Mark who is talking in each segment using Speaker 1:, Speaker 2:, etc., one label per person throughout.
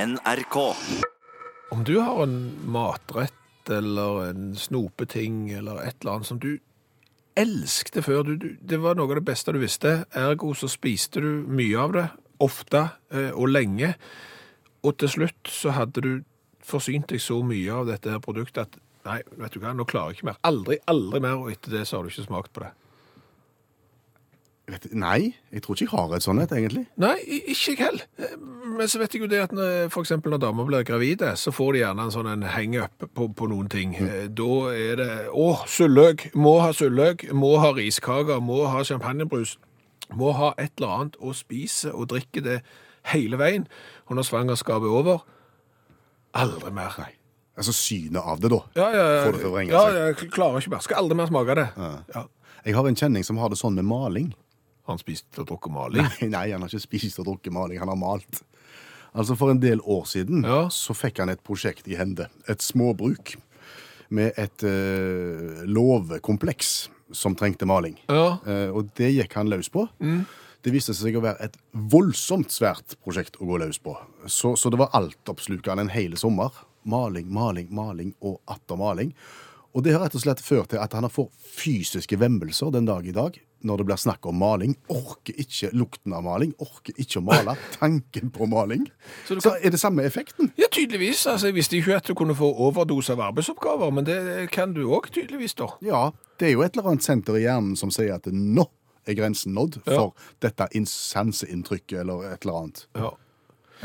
Speaker 1: NRK.
Speaker 2: Om du har en matrett eller en snopeting eller et eller annet som du elskte før, du, du, det var noe av det beste du visste, ergo så spiste du mye av det, ofte eh, og lenge, og til slutt så hadde du forsynt deg så mye av dette her produktet at nei, vet du hva, nå klarer jeg ikke mer. Aldri, aldri mer, og etter det så har du ikke smakt på det.
Speaker 3: Jeg vet- Nei, jeg tror ikke jeg har et sånt et, egentlig.
Speaker 2: Nei, i- ikke jeg heller. Eh, Men så vet jeg jo det at når, for eksempel når damer blir gravide, så får de gjerne en sånn en hang-up på, på noen ting.
Speaker 3: Mm.
Speaker 2: Eh, Da er det Å, sulløk! Må ha sulløk! Må ha riskaker! Må ha champagnebrus! Må ha et eller annet å spise og drikke det hele veien. Og når svangerskapet er over Aldri mer. Nei.
Speaker 3: Altså synet av det, da.
Speaker 2: Ja, ja, ja.
Speaker 3: Får det til å vrenge
Speaker 2: ja,
Speaker 3: seg.
Speaker 2: ja, jeg klarer ikke mer. Skal aldri mer smake det. Ja.
Speaker 3: Jeg har en kjenning som har det sånn med maling.
Speaker 2: Han spiste og drukket maling.
Speaker 3: Nei, nei, han har ikke spist og drukket maling, han har malt. Altså For en del år siden
Speaker 2: Ja.
Speaker 3: så fikk han et prosjekt i hende. Et småbruk med et eh, låvekompleks som trengte maling.
Speaker 2: Ja.
Speaker 3: Eh, og det gikk han løs på.
Speaker 2: Mm.
Speaker 3: Det viste seg å være et voldsomt svært prosjekt å gå løs på. Så, så det var altoppslukende en hel sommer. Maling, maling, maling og atter maling. Og det har rett og slett ført til at han har får fysiske vemmelser den dag i dag når det blir snakk om maling. Orker ikke lukten av maling, orker ikke å male. Tanken på maling.
Speaker 2: Så du
Speaker 3: Så er det samme effekten.
Speaker 2: Ja, tydeligvis. Altså, jeg visste ikke at du kunne få overdose av arbeidsoppgaver, men det kan du òg tydeligvis, da.
Speaker 3: Ja, det er jo et eller annet senter i hjernen som sier at nå er grensen nådd for dette sanseinntrykket eller et eller annet.
Speaker 2: Ja.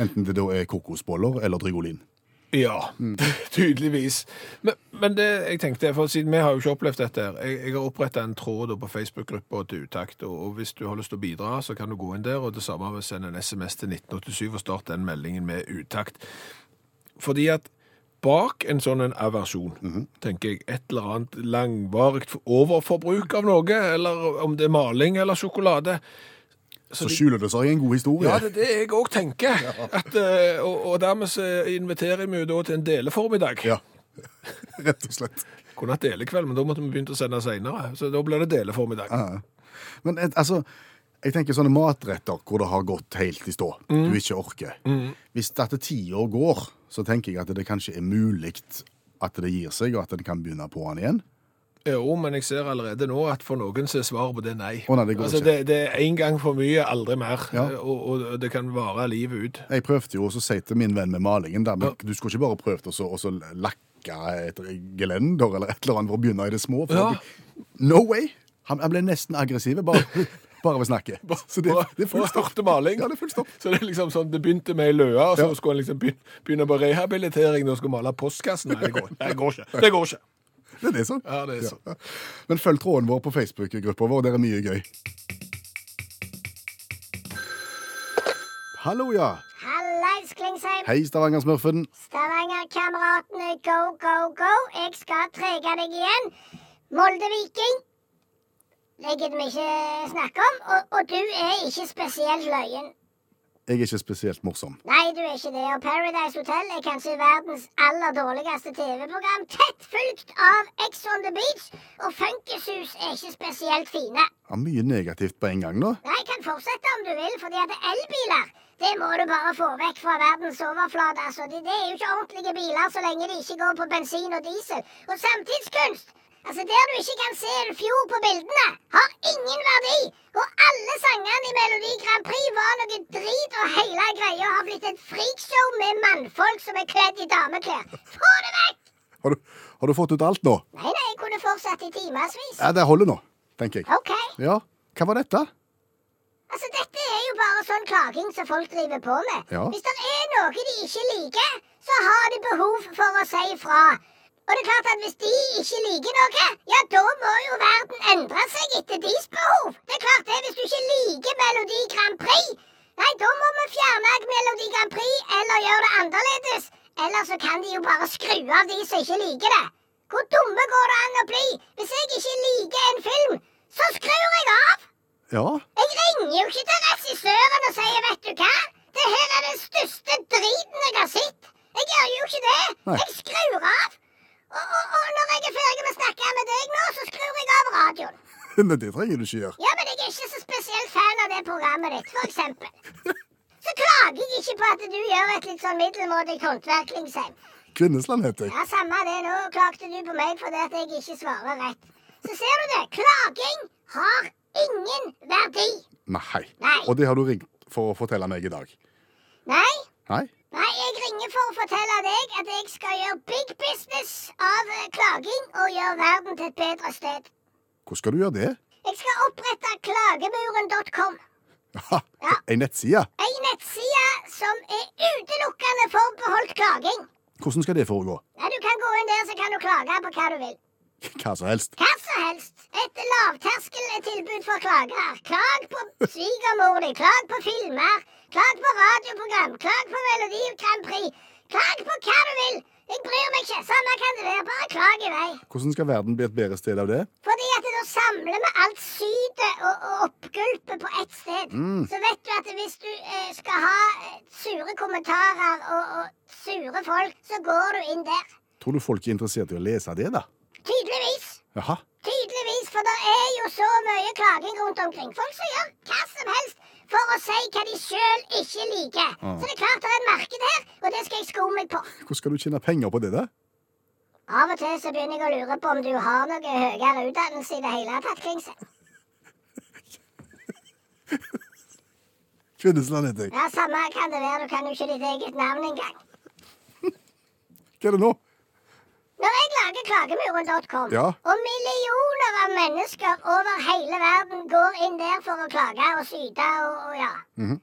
Speaker 3: Enten det da er kokosboller eller drygolin.
Speaker 2: ja tydeligvis. Men, men det jeg tenkte, for siden vi har jo ikke opplevd dette her Jeg, jeg har oppretta en tråd da på Facebook-gruppa til Utakt, og, og hvis du har lyst til å bidra, så kan du gå inn der, og det samme med å sende en SMS til 1987 og starte den meldingen med Utakt. Fordi at bak en sånn en aversjon, tenker jeg, et eller annet langvarig overforbruk av noe, eller om det er maling eller sjokolade,
Speaker 3: Så skjuler det seg en god historie.
Speaker 2: Ja, det er det jeg òg tenker. At, eh, og, og dermed så inviterer vi jo da til en deleformiddag.
Speaker 3: Ja. Rett og slett.
Speaker 2: Kunne hatt delekveld, men da måtte vi begynt å sende seinere. Så da blir det deleformiddag.
Speaker 3: Ja. Men et- altså, jeg tenker sånne matretter hvor det har gått helt i stå. Du ikke orker. Hvis dette ti år går, så tenker jeg at det kanskje er mulig at det gir seg, og at en kan begynne på den igjen.
Speaker 2: Jo, men jeg ser allerede nå at for noen så er svaret på det nei.
Speaker 3: Å, nei, det går
Speaker 2: altså,
Speaker 3: ikke.
Speaker 2: Det, det er én gang for mye, aldri mer.
Speaker 3: Ja.
Speaker 2: Og, og det kan vare livet ut.
Speaker 3: Jeg prøvde jo også å si til min venn med malingen der, men du skulle ikke bare prøvd å så- å så lakke et gelender eller et eller annet for å begynne i det små. For
Speaker 2: Ja.
Speaker 3: No way! Han, han ble nesten aggressiv bare, bare ved snakket. Så det, det er full
Speaker 2: Og
Speaker 3: stopp.
Speaker 2: hørte maling.
Speaker 3: Ja, det er full stopp.
Speaker 2: Så det er liksom sånn, det begynte med ei løe, og så
Speaker 3: Ja.
Speaker 2: skulle han liksom begynne, begynne på rehabilitering og skulle male postkassen. Nei, det går, nei, det går ikke. Det går ikke.
Speaker 3: Det er det sånn.
Speaker 2: Ja, det er sånn.
Speaker 3: Men følg tråden vår på Facebook-gruppa vår. Der er mye gøy. Hallo, ja.
Speaker 4: Hallais, Klingsheim.
Speaker 3: Hei, Stavanger-smurfen.
Speaker 4: Stavanger-kameratene, go, go, go. Jeg skal trege deg igjen. Molde-Viking. Det gidder vi ikke snakke om. Og, og du er ikke spesielt løyen.
Speaker 3: Jeg er ikke spesielt morsom.
Speaker 4: Nei, du er ikke det. Og Paradise Hotel er kanskje verdens aller dårligste TV-program. Tett fulgt av Ex on the Beach. Og Funkesus er ikke spesielt fine.
Speaker 3: Ja, mye negativt på en gang, da.
Speaker 4: Nei, jeg kan fortsette om du vil, fordi at elbiler det må du bare få vekk fra verdens overflate. altså. Det, det er jo ikke ordentlige biler så lenge de ikke går på bensin og diesel. Og samtidskunst! Altså, Der du ikke kan se en fjord på bildene, har ingen verdi! Og alle sangene i Melodi Grand Prix var noe drit, og hele greia har blitt et freakshow med mannfolk som er kledd i dameklær. Få det vekk!
Speaker 3: Har du, har du fått ut alt nå?
Speaker 4: Nei, nei, jeg kunne fortsatt i timevis.
Speaker 3: Ja, Det holder nå, tenker jeg.
Speaker 4: OK.
Speaker 3: Ja, hva var dette?
Speaker 4: Altså, Dette er jo bare sånn klaging som folk driver på med.
Speaker 3: Ja.
Speaker 4: Hvis det er noe de ikke liker, så har de behov for å si ifra. Og det er klart at hvis de ikke liker noe, ja, da må jo verden endre seg etter deres behov. Det er klart det, hvis du ikke liker Melodi Grand Prix, nei, da må vi fjerne Melodi Grand Prix eller gjøre det annerledes. Eller så kan de jo bare skru av de som ikke liker det. Hvor dumme går det an å bli? Hvis jeg ikke liker en film, så skrur jeg av!
Speaker 3: Ja,
Speaker 4: Jeg ringer jo ikke til regissøren og sier 'vet du hva', det her er den største driten jeg har sett. Jeg gjør jo ikke det.
Speaker 3: Nei.
Speaker 4: Jeg skrur av. Og, og, og når jeg er ferdig med å snakke med deg nå, så skrur jeg av radioen.
Speaker 3: men det trenger du ikke gjøre.
Speaker 4: Ja, men jeg er ikke så spesielt fan av det programmet ditt, for eksempel. Så klager jeg ikke på at du gjør et litt sånn middelmådig håndverk, Lingsheim.
Speaker 3: Kvinnesland heter jeg.
Speaker 4: Ja, samme det. Nå klagde du på meg fordi at jeg ikke svarer rett. Så ser du det. Klaging har ingen verdi.
Speaker 3: Nei.
Speaker 4: Nei.
Speaker 3: Og det har du ringt for å fortelle meg i dag.
Speaker 4: Nei.
Speaker 3: Nei?
Speaker 4: Nei, jeg ringer for å fortelle deg at jeg skal gjøre big business av eh, klaging og gjøre verden til et bedre sted.
Speaker 3: Hvordan skal du gjøre det?
Speaker 4: Jeg skal opprette klagemuren.com.
Speaker 3: Ha, Ei nettside?
Speaker 4: Ei nettside som er utelukkende forbeholdt klaging.
Speaker 3: Hvordan skal det foregå?
Speaker 4: Ja, du kan gå inn der, så kan du klage på hva du vil.
Speaker 3: Hva som helst.
Speaker 4: Hva som helst. Et lavterskeltilbud for klagere. Klag på svigermor di, klag på filmer, klag på radioprogram, klag på Melodi Grand Prix. Klag på hva du vil. Jeg bryr meg ikke. Samme kan det være. Bare klag i vei.
Speaker 3: Hvordan skal verden bli et bedre sted av det?
Speaker 4: Fordi at da samler vi alt sydet og, og oppgulpet på ett sted. Så vet du at hvis du eh, skal ha eh, sure kommentarer og, og sure folk, så går du inn der.
Speaker 3: Tror du folk er interessert i å lese det, da?
Speaker 4: Tydeligvis.
Speaker 3: Jaha.
Speaker 4: Tydeligvis, for det er jo så mye klaging rundt omkring. Folk som gjør hva som helst for å si hva de sjøl ikke liker. Så det er klart det er et marked her, og det skal jeg sko meg på.
Speaker 3: Hvordan skal du tjene penger på det, da?
Speaker 4: Av og til så begynner jeg å lure på om du har noe høyere utdannelse i det hele tatt, Klingse.
Speaker 3: Kvinnesland heter jeg.
Speaker 4: Ja, samme kan det være, du kan jo ikke ditt eget navn engang.
Speaker 3: Hva er det nå?
Speaker 4: Når jeg lager klagemuren.com,
Speaker 3: Ja.
Speaker 4: og millioner av mennesker over hele verden går inn der for å klage og syte og, og ja
Speaker 3: Mhm.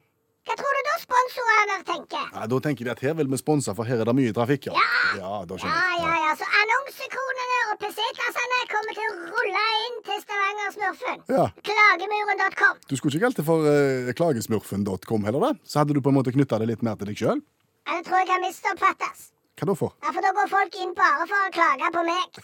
Speaker 4: Hva tror du da sponsorene tenker?
Speaker 3: Nei, da tenker de at her vil vi sponse, for her er det mye trafikk. Ja, ja da
Speaker 4: Ja,
Speaker 3: skjønner
Speaker 4: ja,
Speaker 3: jeg.
Speaker 4: ja, så annonsekonene og PC-klassene kommer til å rulle inn til Stavanger-smurfen.
Speaker 3: Ja.
Speaker 4: Klagemuren.com.
Speaker 3: Du skulle ikke kalt det for eh, klagesmurfen.com heller, da? Så hadde du på en måte knytta det litt mer til deg sjøl?
Speaker 4: Ja, Det tror jeg kan misoppfattes.
Speaker 3: Hva da for?
Speaker 4: Ja, for da går folk inn bare for å klage på meg.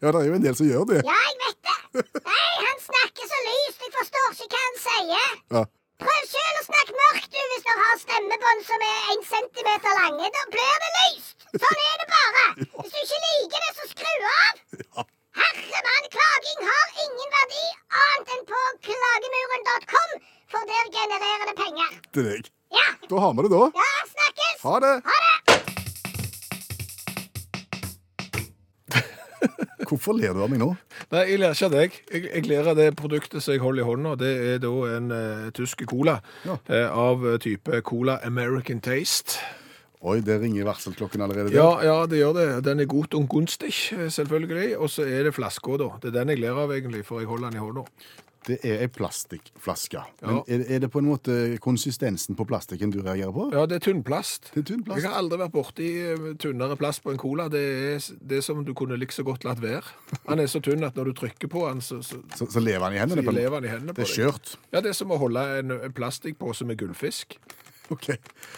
Speaker 3: Ja, det er jo en del som gjør det.
Speaker 4: Ja, jeg vet det. Nei, han snakker så lyst, jeg forstår ikke hva han sier.
Speaker 3: Ja.
Speaker 4: Prøv sjøl å snakke mørkt, du, hvis du har stemmebånd som er en centimeter lange. Da blir det lyst. Sånn er det bare. Hvis du ikke liker det, så skru av.
Speaker 3: Ja.
Speaker 4: Herre mann, klaging har ingen verdi annet enn på klagemuren.com, for der genererer det penger.
Speaker 3: Til deg.
Speaker 4: Ja.
Speaker 3: Da har vi det, da.
Speaker 4: Ja, snakkes.
Speaker 3: Ha det!
Speaker 4: Ha det.
Speaker 3: Hvorfor ler du av meg nå?
Speaker 2: Nei, jeg ler ikke av deg. Jeg, jeg ler av det produktet som jeg holder i hånda. Det er da en eh, tysk cola
Speaker 3: Ja.
Speaker 2: eh, av type Cola American Taste.
Speaker 3: Oi, det ringer varselklokken allerede.
Speaker 2: Ja, ja, det gjør det. Den er godt og gunstig, eh, selvfølgelig. Og så er det flaska, da. Det er den jeg ler av, egentlig, for jeg holder den i hånda.
Speaker 3: Det er ei plastikkflaske. Men er, er det på en måte konsistensen på plastikken du reagerer på?
Speaker 2: Ja, det er tynnplast.
Speaker 3: Det er tynn plast.
Speaker 2: Jeg har aldri vært borti eh, tynnere plast på en cola. Det er, s- det er som du kunne like så godt latt være. Han er så tynn at når du trykker på han, så, så,
Speaker 3: Så, så lever han i hendene?
Speaker 2: så
Speaker 3: på en-
Speaker 2: lever han i hendene på
Speaker 3: Det
Speaker 2: deg.
Speaker 3: er skjørt.
Speaker 2: Ja, det er som å holde en, en plastikkpose med gullfisk.
Speaker 3: Ok.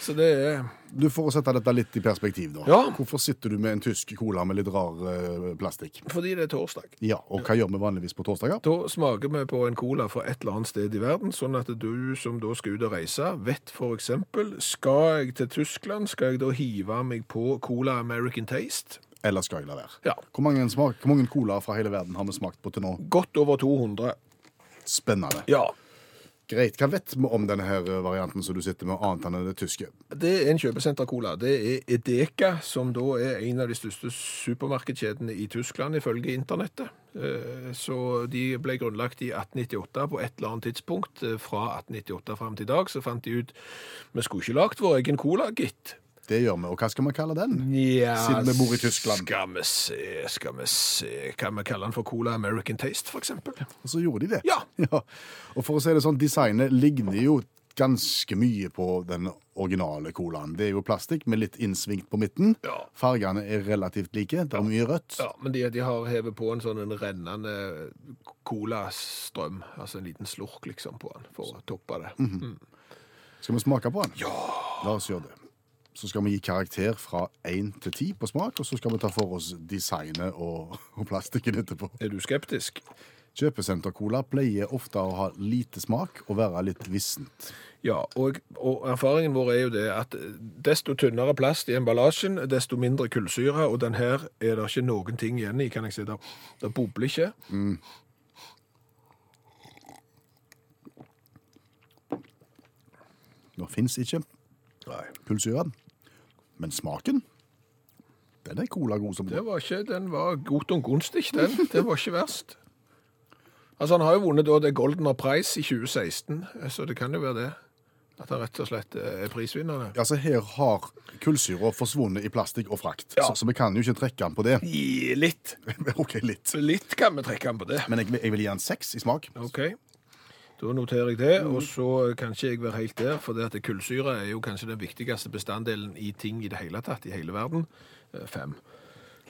Speaker 2: Så det er
Speaker 3: Du får sette dette litt i perspektiv, da.
Speaker 2: Ja.
Speaker 3: Hvorfor sitter du med en tysk cola med litt rar eh, plastikk?
Speaker 2: fordi det er torsdag.
Speaker 3: Ja, og hva gjør vi vanligvis på torsdager?
Speaker 2: Da smaker vi på en cola fra et eller annet sted i verden, sånn at du som da skal ut og reise, vet for eksempel, skal jeg til Tyskland, skal jeg da hive meg på Cola American Taste?
Speaker 3: Eller skal jeg la være?
Speaker 2: Ja.
Speaker 3: Hvor mange, smak, hvor mange colaer fra hele verden har vi smakt på til nå?
Speaker 2: Godt over 200.
Speaker 3: Spennende.
Speaker 2: Ja.
Speaker 3: Greit. Hva vet vi om denne her eh, varianten som du sitter med, annet enn det tyske?
Speaker 2: Det er en kjøpesenter-cola. Det er Edeka, som da er en av de største supermarkedskjedene i Tyskland, ifølge internettet. Eh, Så de ble grunnlagt i 1898 på et eller annet tidspunkt. Eh, Fra 1898 fram til i dag så fant de ut vi skulle ikke lagd vår egen cola, gitt.
Speaker 3: Det gjør vi. Og hva skal vi kalle den?
Speaker 2: Nja,
Speaker 3: Siden vi bor i Tyskland.
Speaker 2: Skal vi se, skal vi se Kan vi kalle den for Cola American Taste, for eksempel?
Speaker 3: Og så gjorde de det.
Speaker 2: Ja.
Speaker 3: Og for å si det sånn, designet ligner jo ganske mye på den originale colaen. Det er jo plastikk med litt innsvingt på midten.
Speaker 2: Ja.
Speaker 3: Fargene er relativt like. Det er mye rødt.
Speaker 2: Ja, men de, de har hevet på en sånn en rennende colastrøm, altså en liten slurk liksom på den, for å toppe det.
Speaker 3: Skal vi smake på den? Ja! La oss gjøre det. Så skal vi gi karakter fra 1 til 10 på smak, og så skal vi ta for oss designet og, og plastikken etterpå.
Speaker 2: Er du skeptisk?
Speaker 3: Kjøpesenter-cola pleier ofte å ha lite smak og være litt vissent.
Speaker 2: Ja, og, og erfaringen vår er jo det at desto tynnere plast i emballasjen, desto mindre kullsyre, og den her er det ikke noen ting igjen i, kan jeg si. Det, det bobler ikke.
Speaker 3: Nå fins ikke
Speaker 2: Nei.
Speaker 3: kullsyren. Men smaken, den er cola god som
Speaker 2: Det var ikke, den var godt og gunstig, den. Det var ikke verst. Altså, han har jo vunnet da det Goldener Prize i 2016, så det kan jo være det. At han rett og slett eh, er prisvinnerne.
Speaker 3: Altså, her har kullsyra forsvunnet i plastikk og frakt,
Speaker 2: Ja.
Speaker 3: så, så vi kan jo ikke trekke den på det.
Speaker 2: Gi Litt.
Speaker 3: OK, litt.
Speaker 2: Litt kan vi trekke han på det.
Speaker 3: Men jeg, jeg vil gi den seks i smak.
Speaker 2: OK. Da noterer jeg det, og så kan ikke jeg være helt der, for det at kullsyre er jo kanskje den viktigste bestanddelen i ting i det hele tatt, i hele verden. Eh, Fem.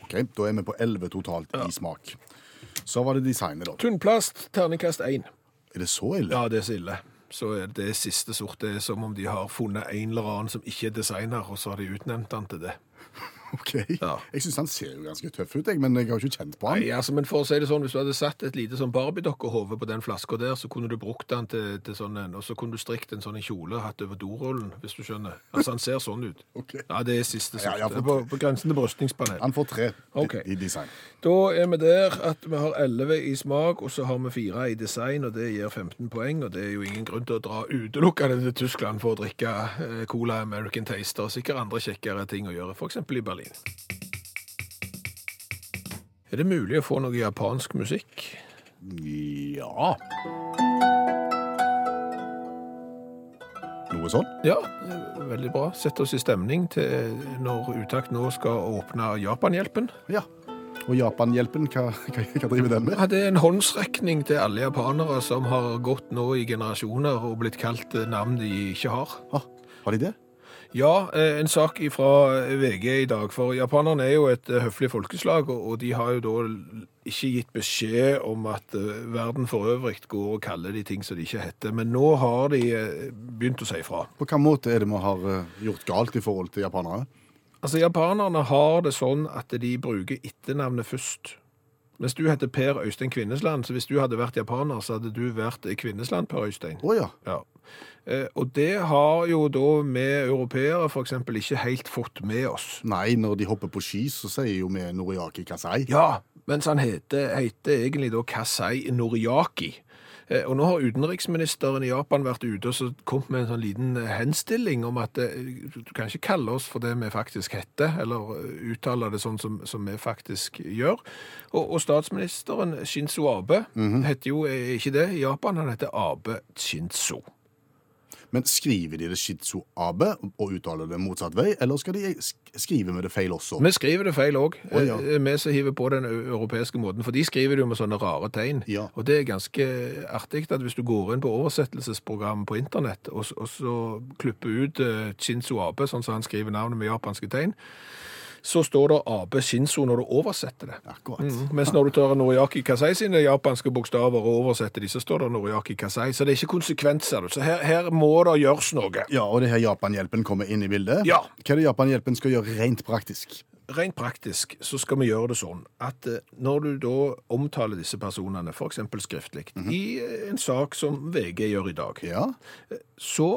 Speaker 3: Ok, Da er vi på elleve totalt i smak. Så var det designet, da.
Speaker 2: Tunnplast, terningkast én.
Speaker 3: Er det så ille?
Speaker 2: Ja, det er så ille. Så er det siste sort. Det er som om de har funnet en eller annen som ikke er designer, og så har de utnevnt han til det.
Speaker 3: Ok.
Speaker 2: Ja.
Speaker 3: Jeg syns han ser jo ganske tøff ut, jeg, men jeg har jo ikke kjent på han.
Speaker 2: Nei, altså, men for å si det sånn, Hvis du hadde satt et lite sånn Barbie-dokkehode på den flaska der, så kunne du brukt den til, til sånn en, og så kunne du strikt en sånn en kjole og hatt over dorullen, hvis du skjønner. Altså, Han ser sånn ut.
Speaker 3: Ok.
Speaker 2: Ja, Det er siste sort.
Speaker 3: Ja, ja, for-
Speaker 2: Det er på, på grensen til brystningspanel.
Speaker 3: Han får tre
Speaker 2: Ok.
Speaker 3: i, i design.
Speaker 2: Da er vi der at vi har 11 i smak, og så har vi 4 i design, og det gir 15 poeng. Og det er jo ingen grunn til å dra utelukkende til Tyskland for å drikke eh, Cola American Taster. og Sikkert andre kjekkere ting å gjøre, f.eks. i Berlin. Er det mulig å få noe japansk musikk?
Speaker 3: Ja Noe sånn?
Speaker 2: Ja, eh, veldig bra. Sett oss i stemning til når Utakt nå skal åpne Japanhjelpen.
Speaker 3: Ja. Og Japanhjelpen, hva, hva, hva driver den med?
Speaker 2: Ja, det er en håndsrekning til alle japanere som har gått nå i generasjoner og blitt kalt eh, navn de ikke har.
Speaker 3: Ah, har de det?
Speaker 2: Ja, eh, en sak fra VG i dag. For japanerne er jo et eh, høflig folkeslag, og og de har jo da l- ikke gitt beskjed om at eh, verden for øvrig går og kaller de ting som de ikke heter. Men nå har de eh, begynt å si ifra.
Speaker 3: På hvilken måte er det vi har eh, gjort galt i forhold til japanere?
Speaker 2: Altså, japanerne har det sånn at de bruker etternavnet først. Mens du heter Per Øystein Kvinnesland, så hvis du hadde vært japaner, så hadde du vært eh, Kvinnesland, Per Øystein.
Speaker 3: Å ja.
Speaker 2: Ja. Eh, Og det har jo da vi europeere f.eks. ikke helt fått med oss.
Speaker 3: Nei, når de hopper på ski, så sier jo vi Noriaki Kasai.
Speaker 2: Ja, mens han heter, heter egentlig da Kasei Noriaki. Eh, Og nå har utenriksministeren i Japan vært ute og så kommet med en sånn liten eh, henstilling om at eh, du kan ikke kalle oss for det vi faktisk heter, eller eh, uttale det sånn som, som vi faktisk gjør. Og, og statsministeren Shinzo Abe heter jo eh, ikke det i Japan, han heter Abe Shinzo.
Speaker 3: Men skriver de det Shizu Abe og uttaler det motsatt vei, eller skal de sk- skrive med det feil også?
Speaker 2: Vi skriver det feil òg,
Speaker 3: Å, ja.
Speaker 2: Eh, vi som hiver på den ø- europeiske måten. For de skriver det jo med sånne rare tegn.
Speaker 3: Ja.
Speaker 2: Og det er ganske eh, artig at hvis du går inn på oversettelsesprogrammet på internett, og, s- og så klipper ut eh, Shinzo Abe, sånn som han skriver navnet med japanske tegn, så står det Abe Shinzo når du oversetter det.
Speaker 3: Akkurat.
Speaker 2: Mm. Mens når du tar Noriaki Kasei sine japanske bokstaver og oversetter de, så står det Noriaki Kasei. Så det er ikke konsekvenser. du. Så her, her må det gjøres noe.
Speaker 3: Ja, og det her Japanhjelpen kommer inn i bildet.
Speaker 2: Ja.
Speaker 3: Hva er det Japanhjelpen skal gjøre rent praktisk?
Speaker 2: Rent praktisk så skal vi gjøre det sånn at eh, når du da omtaler disse personene, f.eks. skriftlig, i eh, en sak som VG gjør i dag,
Speaker 3: Ja,
Speaker 2: så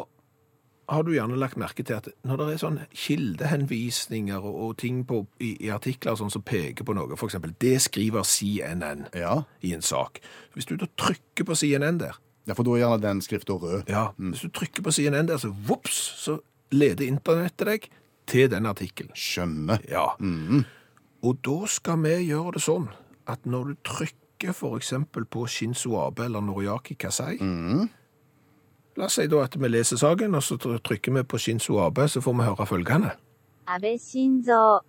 Speaker 2: har du gjerne lagt merke til at når det er sånn kildehenvisninger og, og ting på, i, i artikler og sånn som peker på noe, f.eks. det skriver CNN
Speaker 3: ja.
Speaker 2: i en sak. Hvis du da trykker på CNN der,
Speaker 3: Ja, for da er gjerne den skriften rød.
Speaker 2: ja, hvis du trykker på CNN der, så vops, så leder internettet deg til den artikkelen.
Speaker 3: Skjønner.
Speaker 2: Ja. Mm. Og da skal vi gjøre det sånn at når du trykker for eksempel på Shinzo Abe eller Noriaki Kasai, la oss si da at vi leser saken, og så tr- trykker vi på Shinzo Abe, så får vi høre følgende.
Speaker 1: 安倍晋三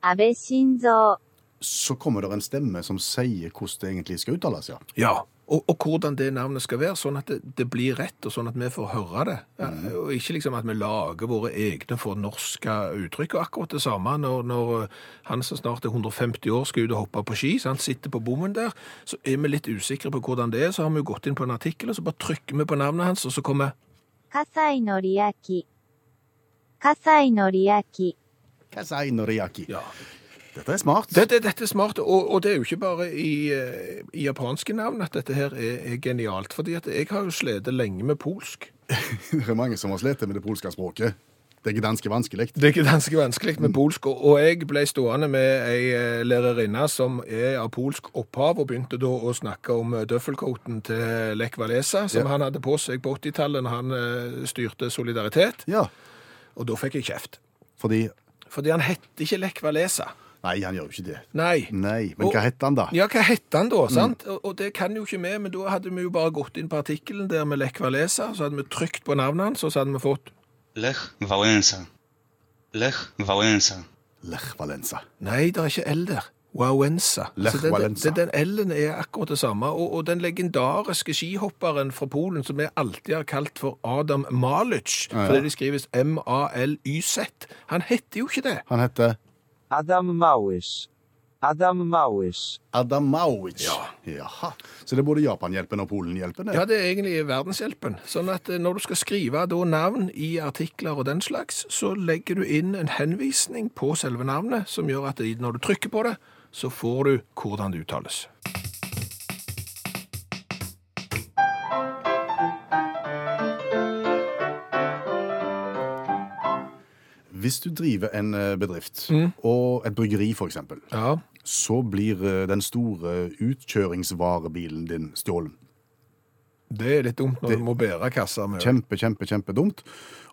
Speaker 1: 安倍晋三
Speaker 3: Så kommer det en stemme som sier hvordan det egentlig skal uttales, ja.
Speaker 2: Ja. Og, og hvordan det navnet skal være, sånn at det, det blir rett, og sånn at vi får høre det. Ja, Og ikke liksom at vi lager våre egne fornorska uttrykk. Og akkurat det samme når, når eh, han som snart er 150 år skal ut og hoppe på ski, så han sitter på bommen der, så er vi litt usikre på hvordan det er, så har vi jo gått inn på en artikkel, og så bare trykker vi på navnet hans, og så kommer
Speaker 1: 葛西紀明葛西紀明
Speaker 3: Kasai Noriaki.
Speaker 2: ja.
Speaker 3: Dette er smart.
Speaker 2: Dette, dette er smart, og, og det er jo ikke bare i, eh, i japanske navn at dette her er, er genialt. fordi at jeg har jo slitt lenge med polsk.
Speaker 3: Det er mange som har slitt med det polske språket. Det er ikke danske vanskelig.
Speaker 2: Det er ikke ganske vanskelig med polsk, og- og jeg ble stående med ei eh, lærerinne som er av polsk opphav, og begynte da å snakke om eh, døffelcoaten til Lech Walesa, som
Speaker 3: Ja.
Speaker 2: han hadde på seg på 80-tallet når han eh, styrte Solidaritet,
Speaker 3: Ja,
Speaker 2: og da fikk jeg kjeft.
Speaker 3: fordi
Speaker 2: Fordi han hette ikke Lech Walesa.
Speaker 3: Nei, han gjør jo ikke det.
Speaker 2: Nei.
Speaker 3: Nei, Mm. Men
Speaker 2: Og-
Speaker 3: hva heter han, da?
Speaker 2: Ja, hva hette han da, sant? Og, og det kan jo ikke vi, men da hadde vi jo bare gått inn på artikkelen der med Lech Walesa, så hadde vi trykt på navnet hans, og så hadde vi fått
Speaker 5: Lech Wałęsa. Lech Wałęsa.
Speaker 3: Lech Valenza.
Speaker 2: Nei, det er ikke L der. Wawensa.
Speaker 3: Lech
Speaker 2: Så den-
Speaker 3: Wałęsa.
Speaker 2: Den, den L-en er akkurat det samme. Og, og den legendariske skihopperen fra Polen som vi alltid har kalt for Adam Malic,
Speaker 3: ja.
Speaker 2: fordi det skrives M-A-L-Y-Z, han heter jo ikke det.
Speaker 3: Han heter
Speaker 6: Adam Małysz. Adam Małysz.
Speaker 3: Adamowicz. Jaha. Så det er både Japanhjelpen og Polenhjelpen? det?
Speaker 2: Ja, det er egentlig Verdenshjelpen. Sånn at eh, når du skal skrive da navn i artikler og den slags, så legger du inn en henvisning på selve navnet, som gjør at i- når du trykker på det, så får du hvordan det uttales.
Speaker 3: Hvis du driver en eh, bedrift, og et bryggeri f.eks.,
Speaker 2: Ja,
Speaker 3: så blir eh, den store utkjøringsvarebilen din stjålet.
Speaker 2: det er litt dumt når du må bære kasser med
Speaker 3: Kjempe, kjempe, kjempedumt.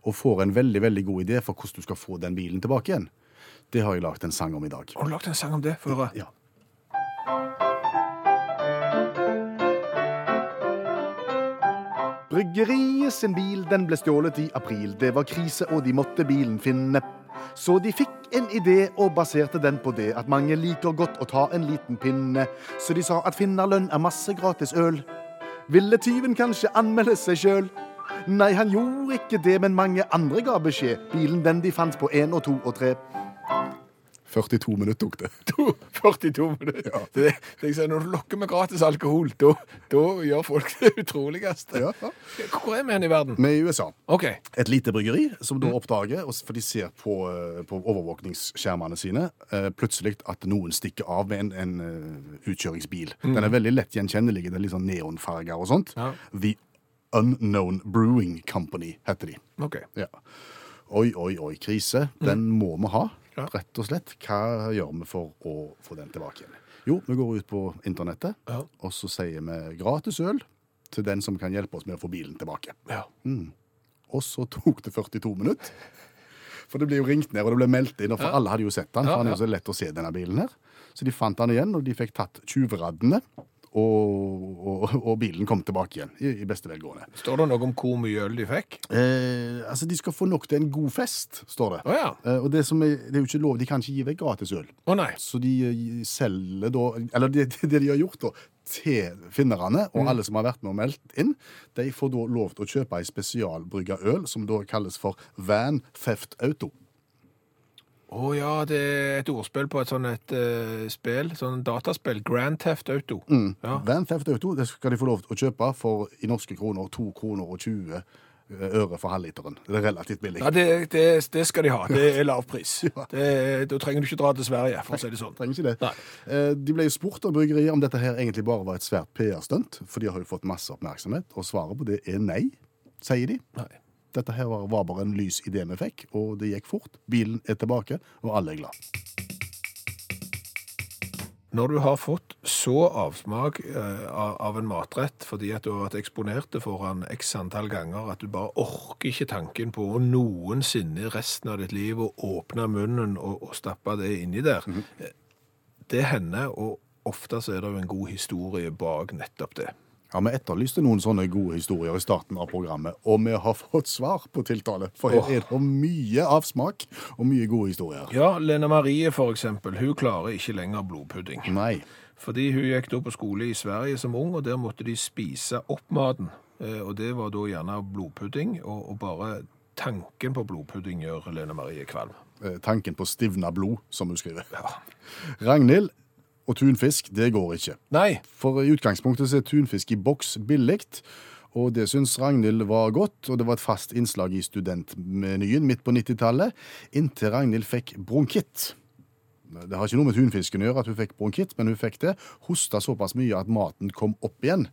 Speaker 3: Og får en veldig veldig god idé for hvordan du skal få den bilen tilbake igjen. Det har jeg lagd en sang om i dag.
Speaker 2: Har du lagd en sang om det? Få høre.
Speaker 3: Ja. Bryggeriet sin bil den ble stjålet i april. Det var krise, og de måtte bilen finne. Så de fikk en idé og baserte den på det at mange liker godt å ta en liten pinne. Så de sa at finnerlønn er masse gratis øl. Ville tyven kanskje anmelde seg sjøl? Nei, han gjorde ikke det, men mange andre ga beskjed. Bilen den de fant på én og to og tre. 42 minutter tok det.
Speaker 2: 42 minutter. Det, det, jeg sier, når du lokker med gratis alkohol, da da gjør folk det utroligste.
Speaker 3: Ja.
Speaker 2: Hvor er vi hen i verden?
Speaker 3: Med i USA.
Speaker 2: OK.
Speaker 3: Et lite bryggeri som da oppdager, og s- for de ser på, eh, på overvåkningsskjermene sine, eh, plutselig at noen stikker av med en, en eh, utkjøringsbil. Den er veldig lett gjenkjennelig. Det er litt sånn neonfarger og sånt.
Speaker 2: Ja.
Speaker 3: The Unknown Brewing Company heter de.
Speaker 2: ok.
Speaker 3: Ja. Oi, oi, oi, krise. Den må vi ha,
Speaker 2: Ja.
Speaker 3: rett og slett. Hva gjør vi for å få den tilbake igjen? Jo, vi går ut på internettet,
Speaker 2: Ja.
Speaker 3: og så sier vi gratis øl til den som kan hjelpe oss med å få bilen tilbake.
Speaker 2: Ja.
Speaker 3: Og så tok det 42 minutter. For det ble jo ringt ned, og det ble meldt inn, og for alle hadde jo sett den. For
Speaker 2: Ja,
Speaker 3: han er
Speaker 2: ja.
Speaker 3: jo så lett å se denne bilen her. Så de fant han igjen, og de fikk tatt tjuvraddene. Og, og, og bilen kom tilbake igjen i, i beste velgående.
Speaker 2: Står det noe om hvor mye øl de fikk?
Speaker 3: Eh, altså, De skal få nok til en god fest, står det.
Speaker 2: Å ja.
Speaker 3: Eh, og det, som er, det er jo ikke lov, De kan ikke gi vekk gratis øl.
Speaker 2: Å nei.
Speaker 3: Så de eh, selger da Eller det, det de har gjort, da, til finnerne
Speaker 2: Mm.
Speaker 3: og alle som har vært med og meldt inn, de får da lov til å kjøpe ei spesialbrygga øl som da kalles for Van Theft Auto.
Speaker 2: Å ja, det er et ordspill på et sånn et eh, spill, sånn dataspill. Grand Theft Auto. Ja.
Speaker 3: Van Theft Auto det skal de få lov til å kjøpe for i norske kroner 2 kroner og 20 øre for halvliteren. Det er relativt billig.
Speaker 2: Ja, det, det, det skal de ha. Det er lav pris. Det, er- da trenger du ikke dra til Sverige, for å si det sånn.
Speaker 3: Trenger ikke det.
Speaker 2: Nei.
Speaker 3: Eh, De ble jo spurt av bryggeriet om dette her egentlig bare var et svært PR-stunt, for de har jo fått masse oppmerksomhet, og svaret på det er nei, sier de.
Speaker 2: Nei.
Speaker 3: Dette her var- var bare en lys idé vi fikk, og det gikk fort. Bilen er tilbake, og alle er glad.
Speaker 2: Når du har fått så avsmak eh, av av en matrett fordi at du har vært eksponert det for den x antall ganger at du bare orker ikke tanken på å noensinne i resten av ditt liv å åpne munnen og, og stappe det inni der, eh, det hender, og ofte så er det jo en god historie bak nettopp det.
Speaker 3: Ja, Vi etterlyste noen sånne gode historier i starten av programmet, og vi har fått svar på tiltale. For her er det mye avsmak og mye gode historier.
Speaker 2: Ja, Lene Marie for eksempel, hun klarer ikke lenger blodpudding.
Speaker 3: Nei.
Speaker 2: Fordi hun gikk da på skole i Sverige som ung, og der måtte de spise opp maten. Eh, Og det var da gjerne blodpudding, og, og bare tanken på blodpudding gjør Lene Marie kvalm.
Speaker 3: eh, Tanken på stivna blod, som hun skriver. Ragnhild og tunfisk, det går ikke.
Speaker 2: Nei,
Speaker 3: For i utgangspunktet så er tunfisk i boks billig, og det syns Ragnhild var godt, og det var et fast innslag i studentmenyen midt på 90-tallet, inntil Ragnhild fikk bronkitt. Det har ikke noe med tunfisken å gjøre at hun fikk bronkitt, men hun fikk det. Hosta såpass mye at maten kom opp igjen,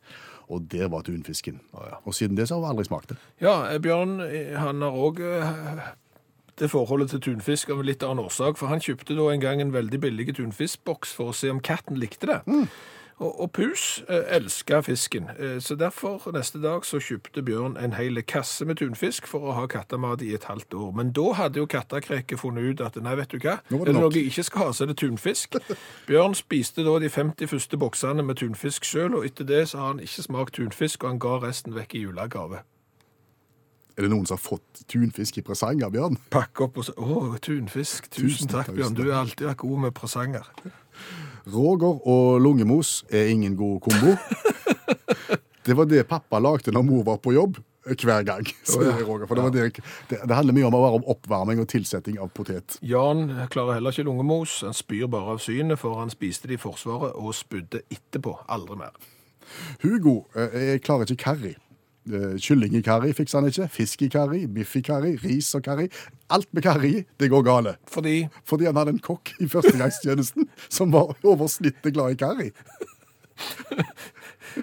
Speaker 3: og der var tunfisken. Og siden det så har hun aldri smakt det.
Speaker 2: ja, eh, Bjørn eh, han har òg etter forholdet til tunfisk av en litt annen årsak, for han kjøpte da en gang en veldig billig tunfiskboks for å se om katten likte det.
Speaker 3: Mm.
Speaker 2: Og, og pus eh, elska fisken, eh, så derfor neste dag så kjøpte Bjørn en hel kasse med tunfisk for å ha kattemat i et halvt år. Men da hadde jo kattekreket funnet ut at nei, vet du hva,
Speaker 3: Nå var
Speaker 2: er det
Speaker 3: det nok.
Speaker 2: noe jeg ikke skal ha, så er det tunfisk. Bjørn spiste da de 50 første boksene med tunfisk sjøl, og etter det så har han ikke smakt tunfisk, og han ga resten vekk i julegave.
Speaker 3: Er det noen som har fått tunfisk i presang av Bjørn?
Speaker 2: pakke opp og si 'Å, tunfisk. Tusen
Speaker 3: Tusen
Speaker 2: takk,
Speaker 3: takk,
Speaker 2: Bjørn. Du er alltid vært god med presanger.
Speaker 3: Roger og lungemos er ingen god kombo. Det var det pappa lagde når mor var på jobb hver gang. Så det, er Roger, for det, var det, det, det handler mye om å være om oppvarming og tilsetting av potet.
Speaker 2: Jan klarer heller ikke lungemos. Han spyr bare av synet, for han spiste det i Forsvaret og spydde etterpå. Aldri mer.
Speaker 3: Hugo eh, jeg klarer ikke karri. Eh, Kylling i karri fikser han ikke. Fisk i karri, biff i karri, ris og karri. Alt med karri, det går gale.
Speaker 2: Fordi
Speaker 3: Fordi han hadde en kokk i førstegangstjenesten som var over snittet glad i karri.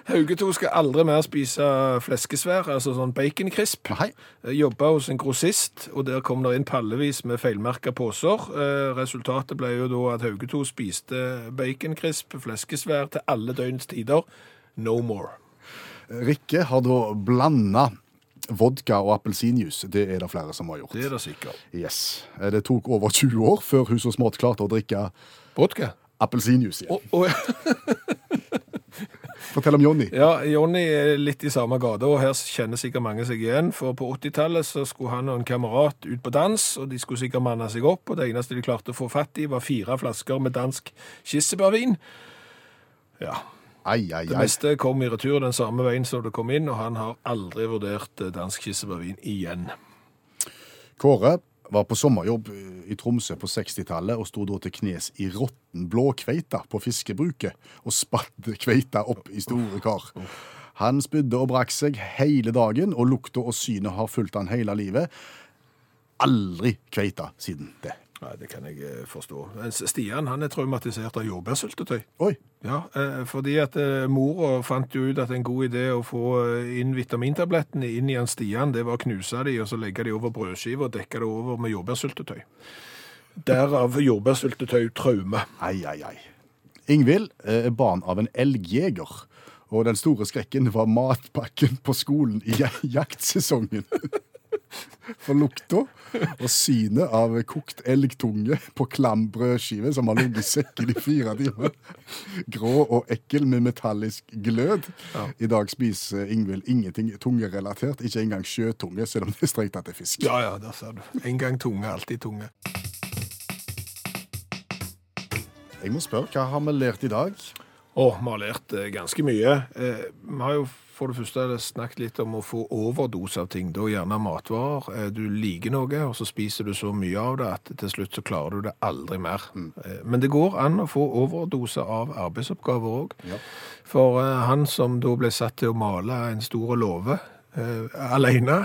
Speaker 2: Hauge 2 skal aldri mer spise fleskesvær, altså sånn baconcrisp. Eh,
Speaker 3: Nei,
Speaker 2: Jobba hos en grossist, og der kom det inn pallevis med feilmerka poser. Eh, Resultatet ble jo da at Hauge 2 spiste baconcrisp, fleskesvær, til alle døgnets tider. No more.
Speaker 3: Rikke har da blanda vodka og appelsinjuice. Det er det flere som har gjort.
Speaker 2: Det er det sikkert.
Speaker 3: Yes. Eh, Det tok over 20 år før hun så smått klarte å drikke
Speaker 2: Vodka?
Speaker 3: appelsinjuice igjen.
Speaker 2: Å, å, ja.
Speaker 3: Fortell om Jonny.
Speaker 2: Ja, Jonny er litt i samme gate, og her kjenner sikkert mange seg igjen. For på 80-tallet så skulle han og en kamerat ut på dans, og de skulle sikkert manne seg opp. Og det eneste de klarte å få fatt i, var fire flasker med dansk kirsebærvin. Ja.
Speaker 3: Ai, ai,
Speaker 2: Det
Speaker 3: ai.
Speaker 2: meste kom i retur den samme veien som det kom inn, og han har aldri vurdert eh, dansk kirsebærvin igjen.
Speaker 3: Kåre var på sommerjobb eh, i Tromsø på 60-tallet og sto da til knes i råtten blåkveite på fiskebruket og spatt kveita opp i store kar. Han spydde og brakk seg hele dagen, og lukta og synet har fulgt han hele livet. Aldri kveita siden det.
Speaker 2: Nei, det kan jeg eh, forstå. Mens Stian han er traumatisert av jordbærsyltetøy.
Speaker 3: Oi,
Speaker 2: Ja, eh, fordi at eh, mora fant jo ut at en god idé å få eh, inn vitamintablettene inn i en stian, det var å knuse de, og så legge de over brødskiva og dekke det over med jordbærsyltetøy. Derav jordbærsyltetøy-traume.
Speaker 3: ai, ai, ai. Ingvild eh, er barn av en elgjeger, og den store skrekken var matpakken på skolen i ja- jaktsesongen. For lukta og synet av kokt elgtunge på klam brødskive som har ligget i sekken i fire timer. Grå og ekkel med metallisk glød. I dag spiser Ingvild ingenting tungerelatert, ikke engang sjøtunge, selv om det er strengt tatt er fisk.
Speaker 2: Ja, ja, der ser du. En gang tunge, alltid tunge.
Speaker 3: Jeg må spørre, hva har vi lært i dag?
Speaker 2: Og vi har lært eh, ganske mye. Eh, Vi har jo for det første snakket litt om å få overdose av ting, da gjerne matvarer. Eh, Du liker noe, og så spiser du så mye av det at til slutt så klarer du det aldri mer. Eh, Men det går an å få overdose av arbeidsoppgaver òg. For eh, han som da ble satt til å male en stor låve eh, alene,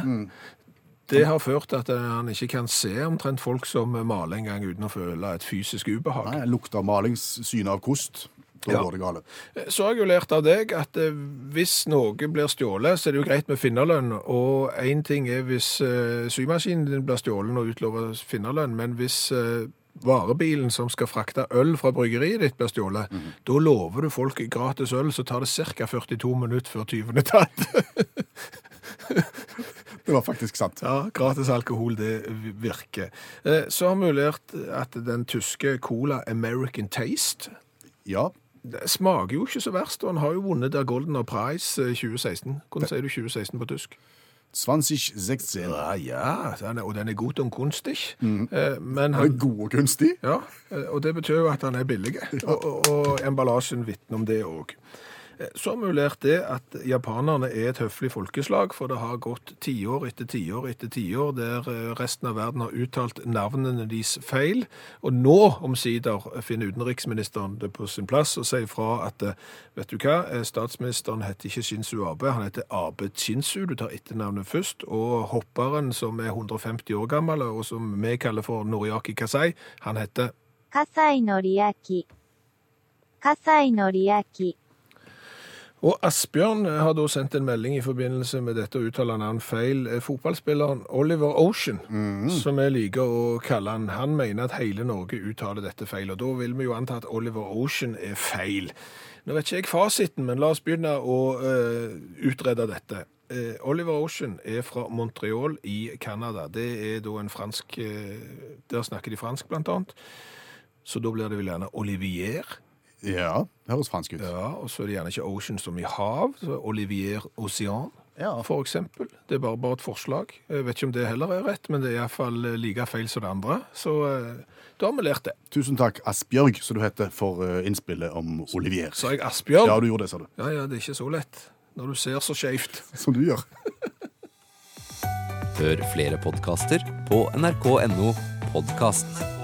Speaker 2: det har ført til at eh, han ikke kan se omtrent folk som maler en gang uten å føle et fysisk ubehag.
Speaker 3: Nei, Lukt av maling, synet av kost. Da
Speaker 2: Ja.
Speaker 3: går det galt.
Speaker 2: Så har jeg jo lært av deg at eh, hvis noe blir stjålet, så er det jo greit med finnerlønn. Og én ting er hvis eh, symaskinen din blir stjålet og utlover finnerlønn, men hvis eh, varebilen som skal frakte øl fra bryggeriet ditt blir stjålet, da lover du folk gratis øl, så tar det ca. 42 minutter før tyven er tatt.
Speaker 3: Det var faktisk sant.
Speaker 2: Ja, gratis alkohol, det virker. Eh, Så har vi jo lært at den tyske cola American Taste
Speaker 3: Ja,
Speaker 2: Det smaker jo ikke så verst, og han har jo vunnet der Goldener Prize eh, 2016. Hvordan sier du 2016 på tysk?
Speaker 3: 2016.
Speaker 2: Ja, ja, den er, og den er god om kunstig. Eh, Men
Speaker 3: Er
Speaker 2: han,
Speaker 3: det god og kunstig?
Speaker 2: ja, eh, og det betyr jo at han er billig, og, og, og emballasjen vitner om det òg. Så har vi jo lært det at japanerne er et høflig folkeslag, for det har gått tiår etter tiår etter tiår der eh, resten av verden har uttalt navnene deres feil. Og nå, omsider, finner utenriksministeren det på sin plass og sier fra at eh, vet du hva, eh, statsministeren heter ikke Shinzo Abe, han heter Abe Shinzu. Du tar etternavnet først. Og hopperen som er 150 år gammel, og som vi kaller for Noriaki Kasai, han heter
Speaker 1: 葛西のりあき。葛西のりあき。
Speaker 2: Og Asbjørn eh, har da sendt en melding i forbindelse med dette og uttaler navn feil. Eh, Fotballspilleren Oliver Ocean, som vi liker å kalle han, han mener at hele Norge uttaler dette feil, og da vil vi jo anta at Oliver Ocean er feil. Nå vet ikke jeg fasiten, men la oss begynne å eh, utrede dette. Eh, Oliver Ocean er fra Montreal i Canada. Det er da en fransk eh, Der snakker de fransk, blant annet. Så da blir det vel gjerne Olivier.
Speaker 3: Ja, det høres fransk ut.
Speaker 2: Ja, og så er det gjerne ikke ocean som i hav. Så Olivier Ocean,
Speaker 3: Ja.
Speaker 2: for eksempel. Det er bare, bare et forslag. Jeg vet ikke om det heller er rett, men det er iallfall eh, like feil som det andre. Så eh, da har vi lært det.
Speaker 3: Tusen takk, Asbjørg, som du heter, for eh, innspillet om Olivier.
Speaker 2: Sa jeg Asbjørn?
Speaker 3: Ja,
Speaker 2: Ja,
Speaker 3: du gjorde det, sa du.
Speaker 2: ja, det er ikke så lett. Når du ser så skeivt.
Speaker 3: Som du gjør.
Speaker 7: Hør flere podkaster på nrk.no podkast.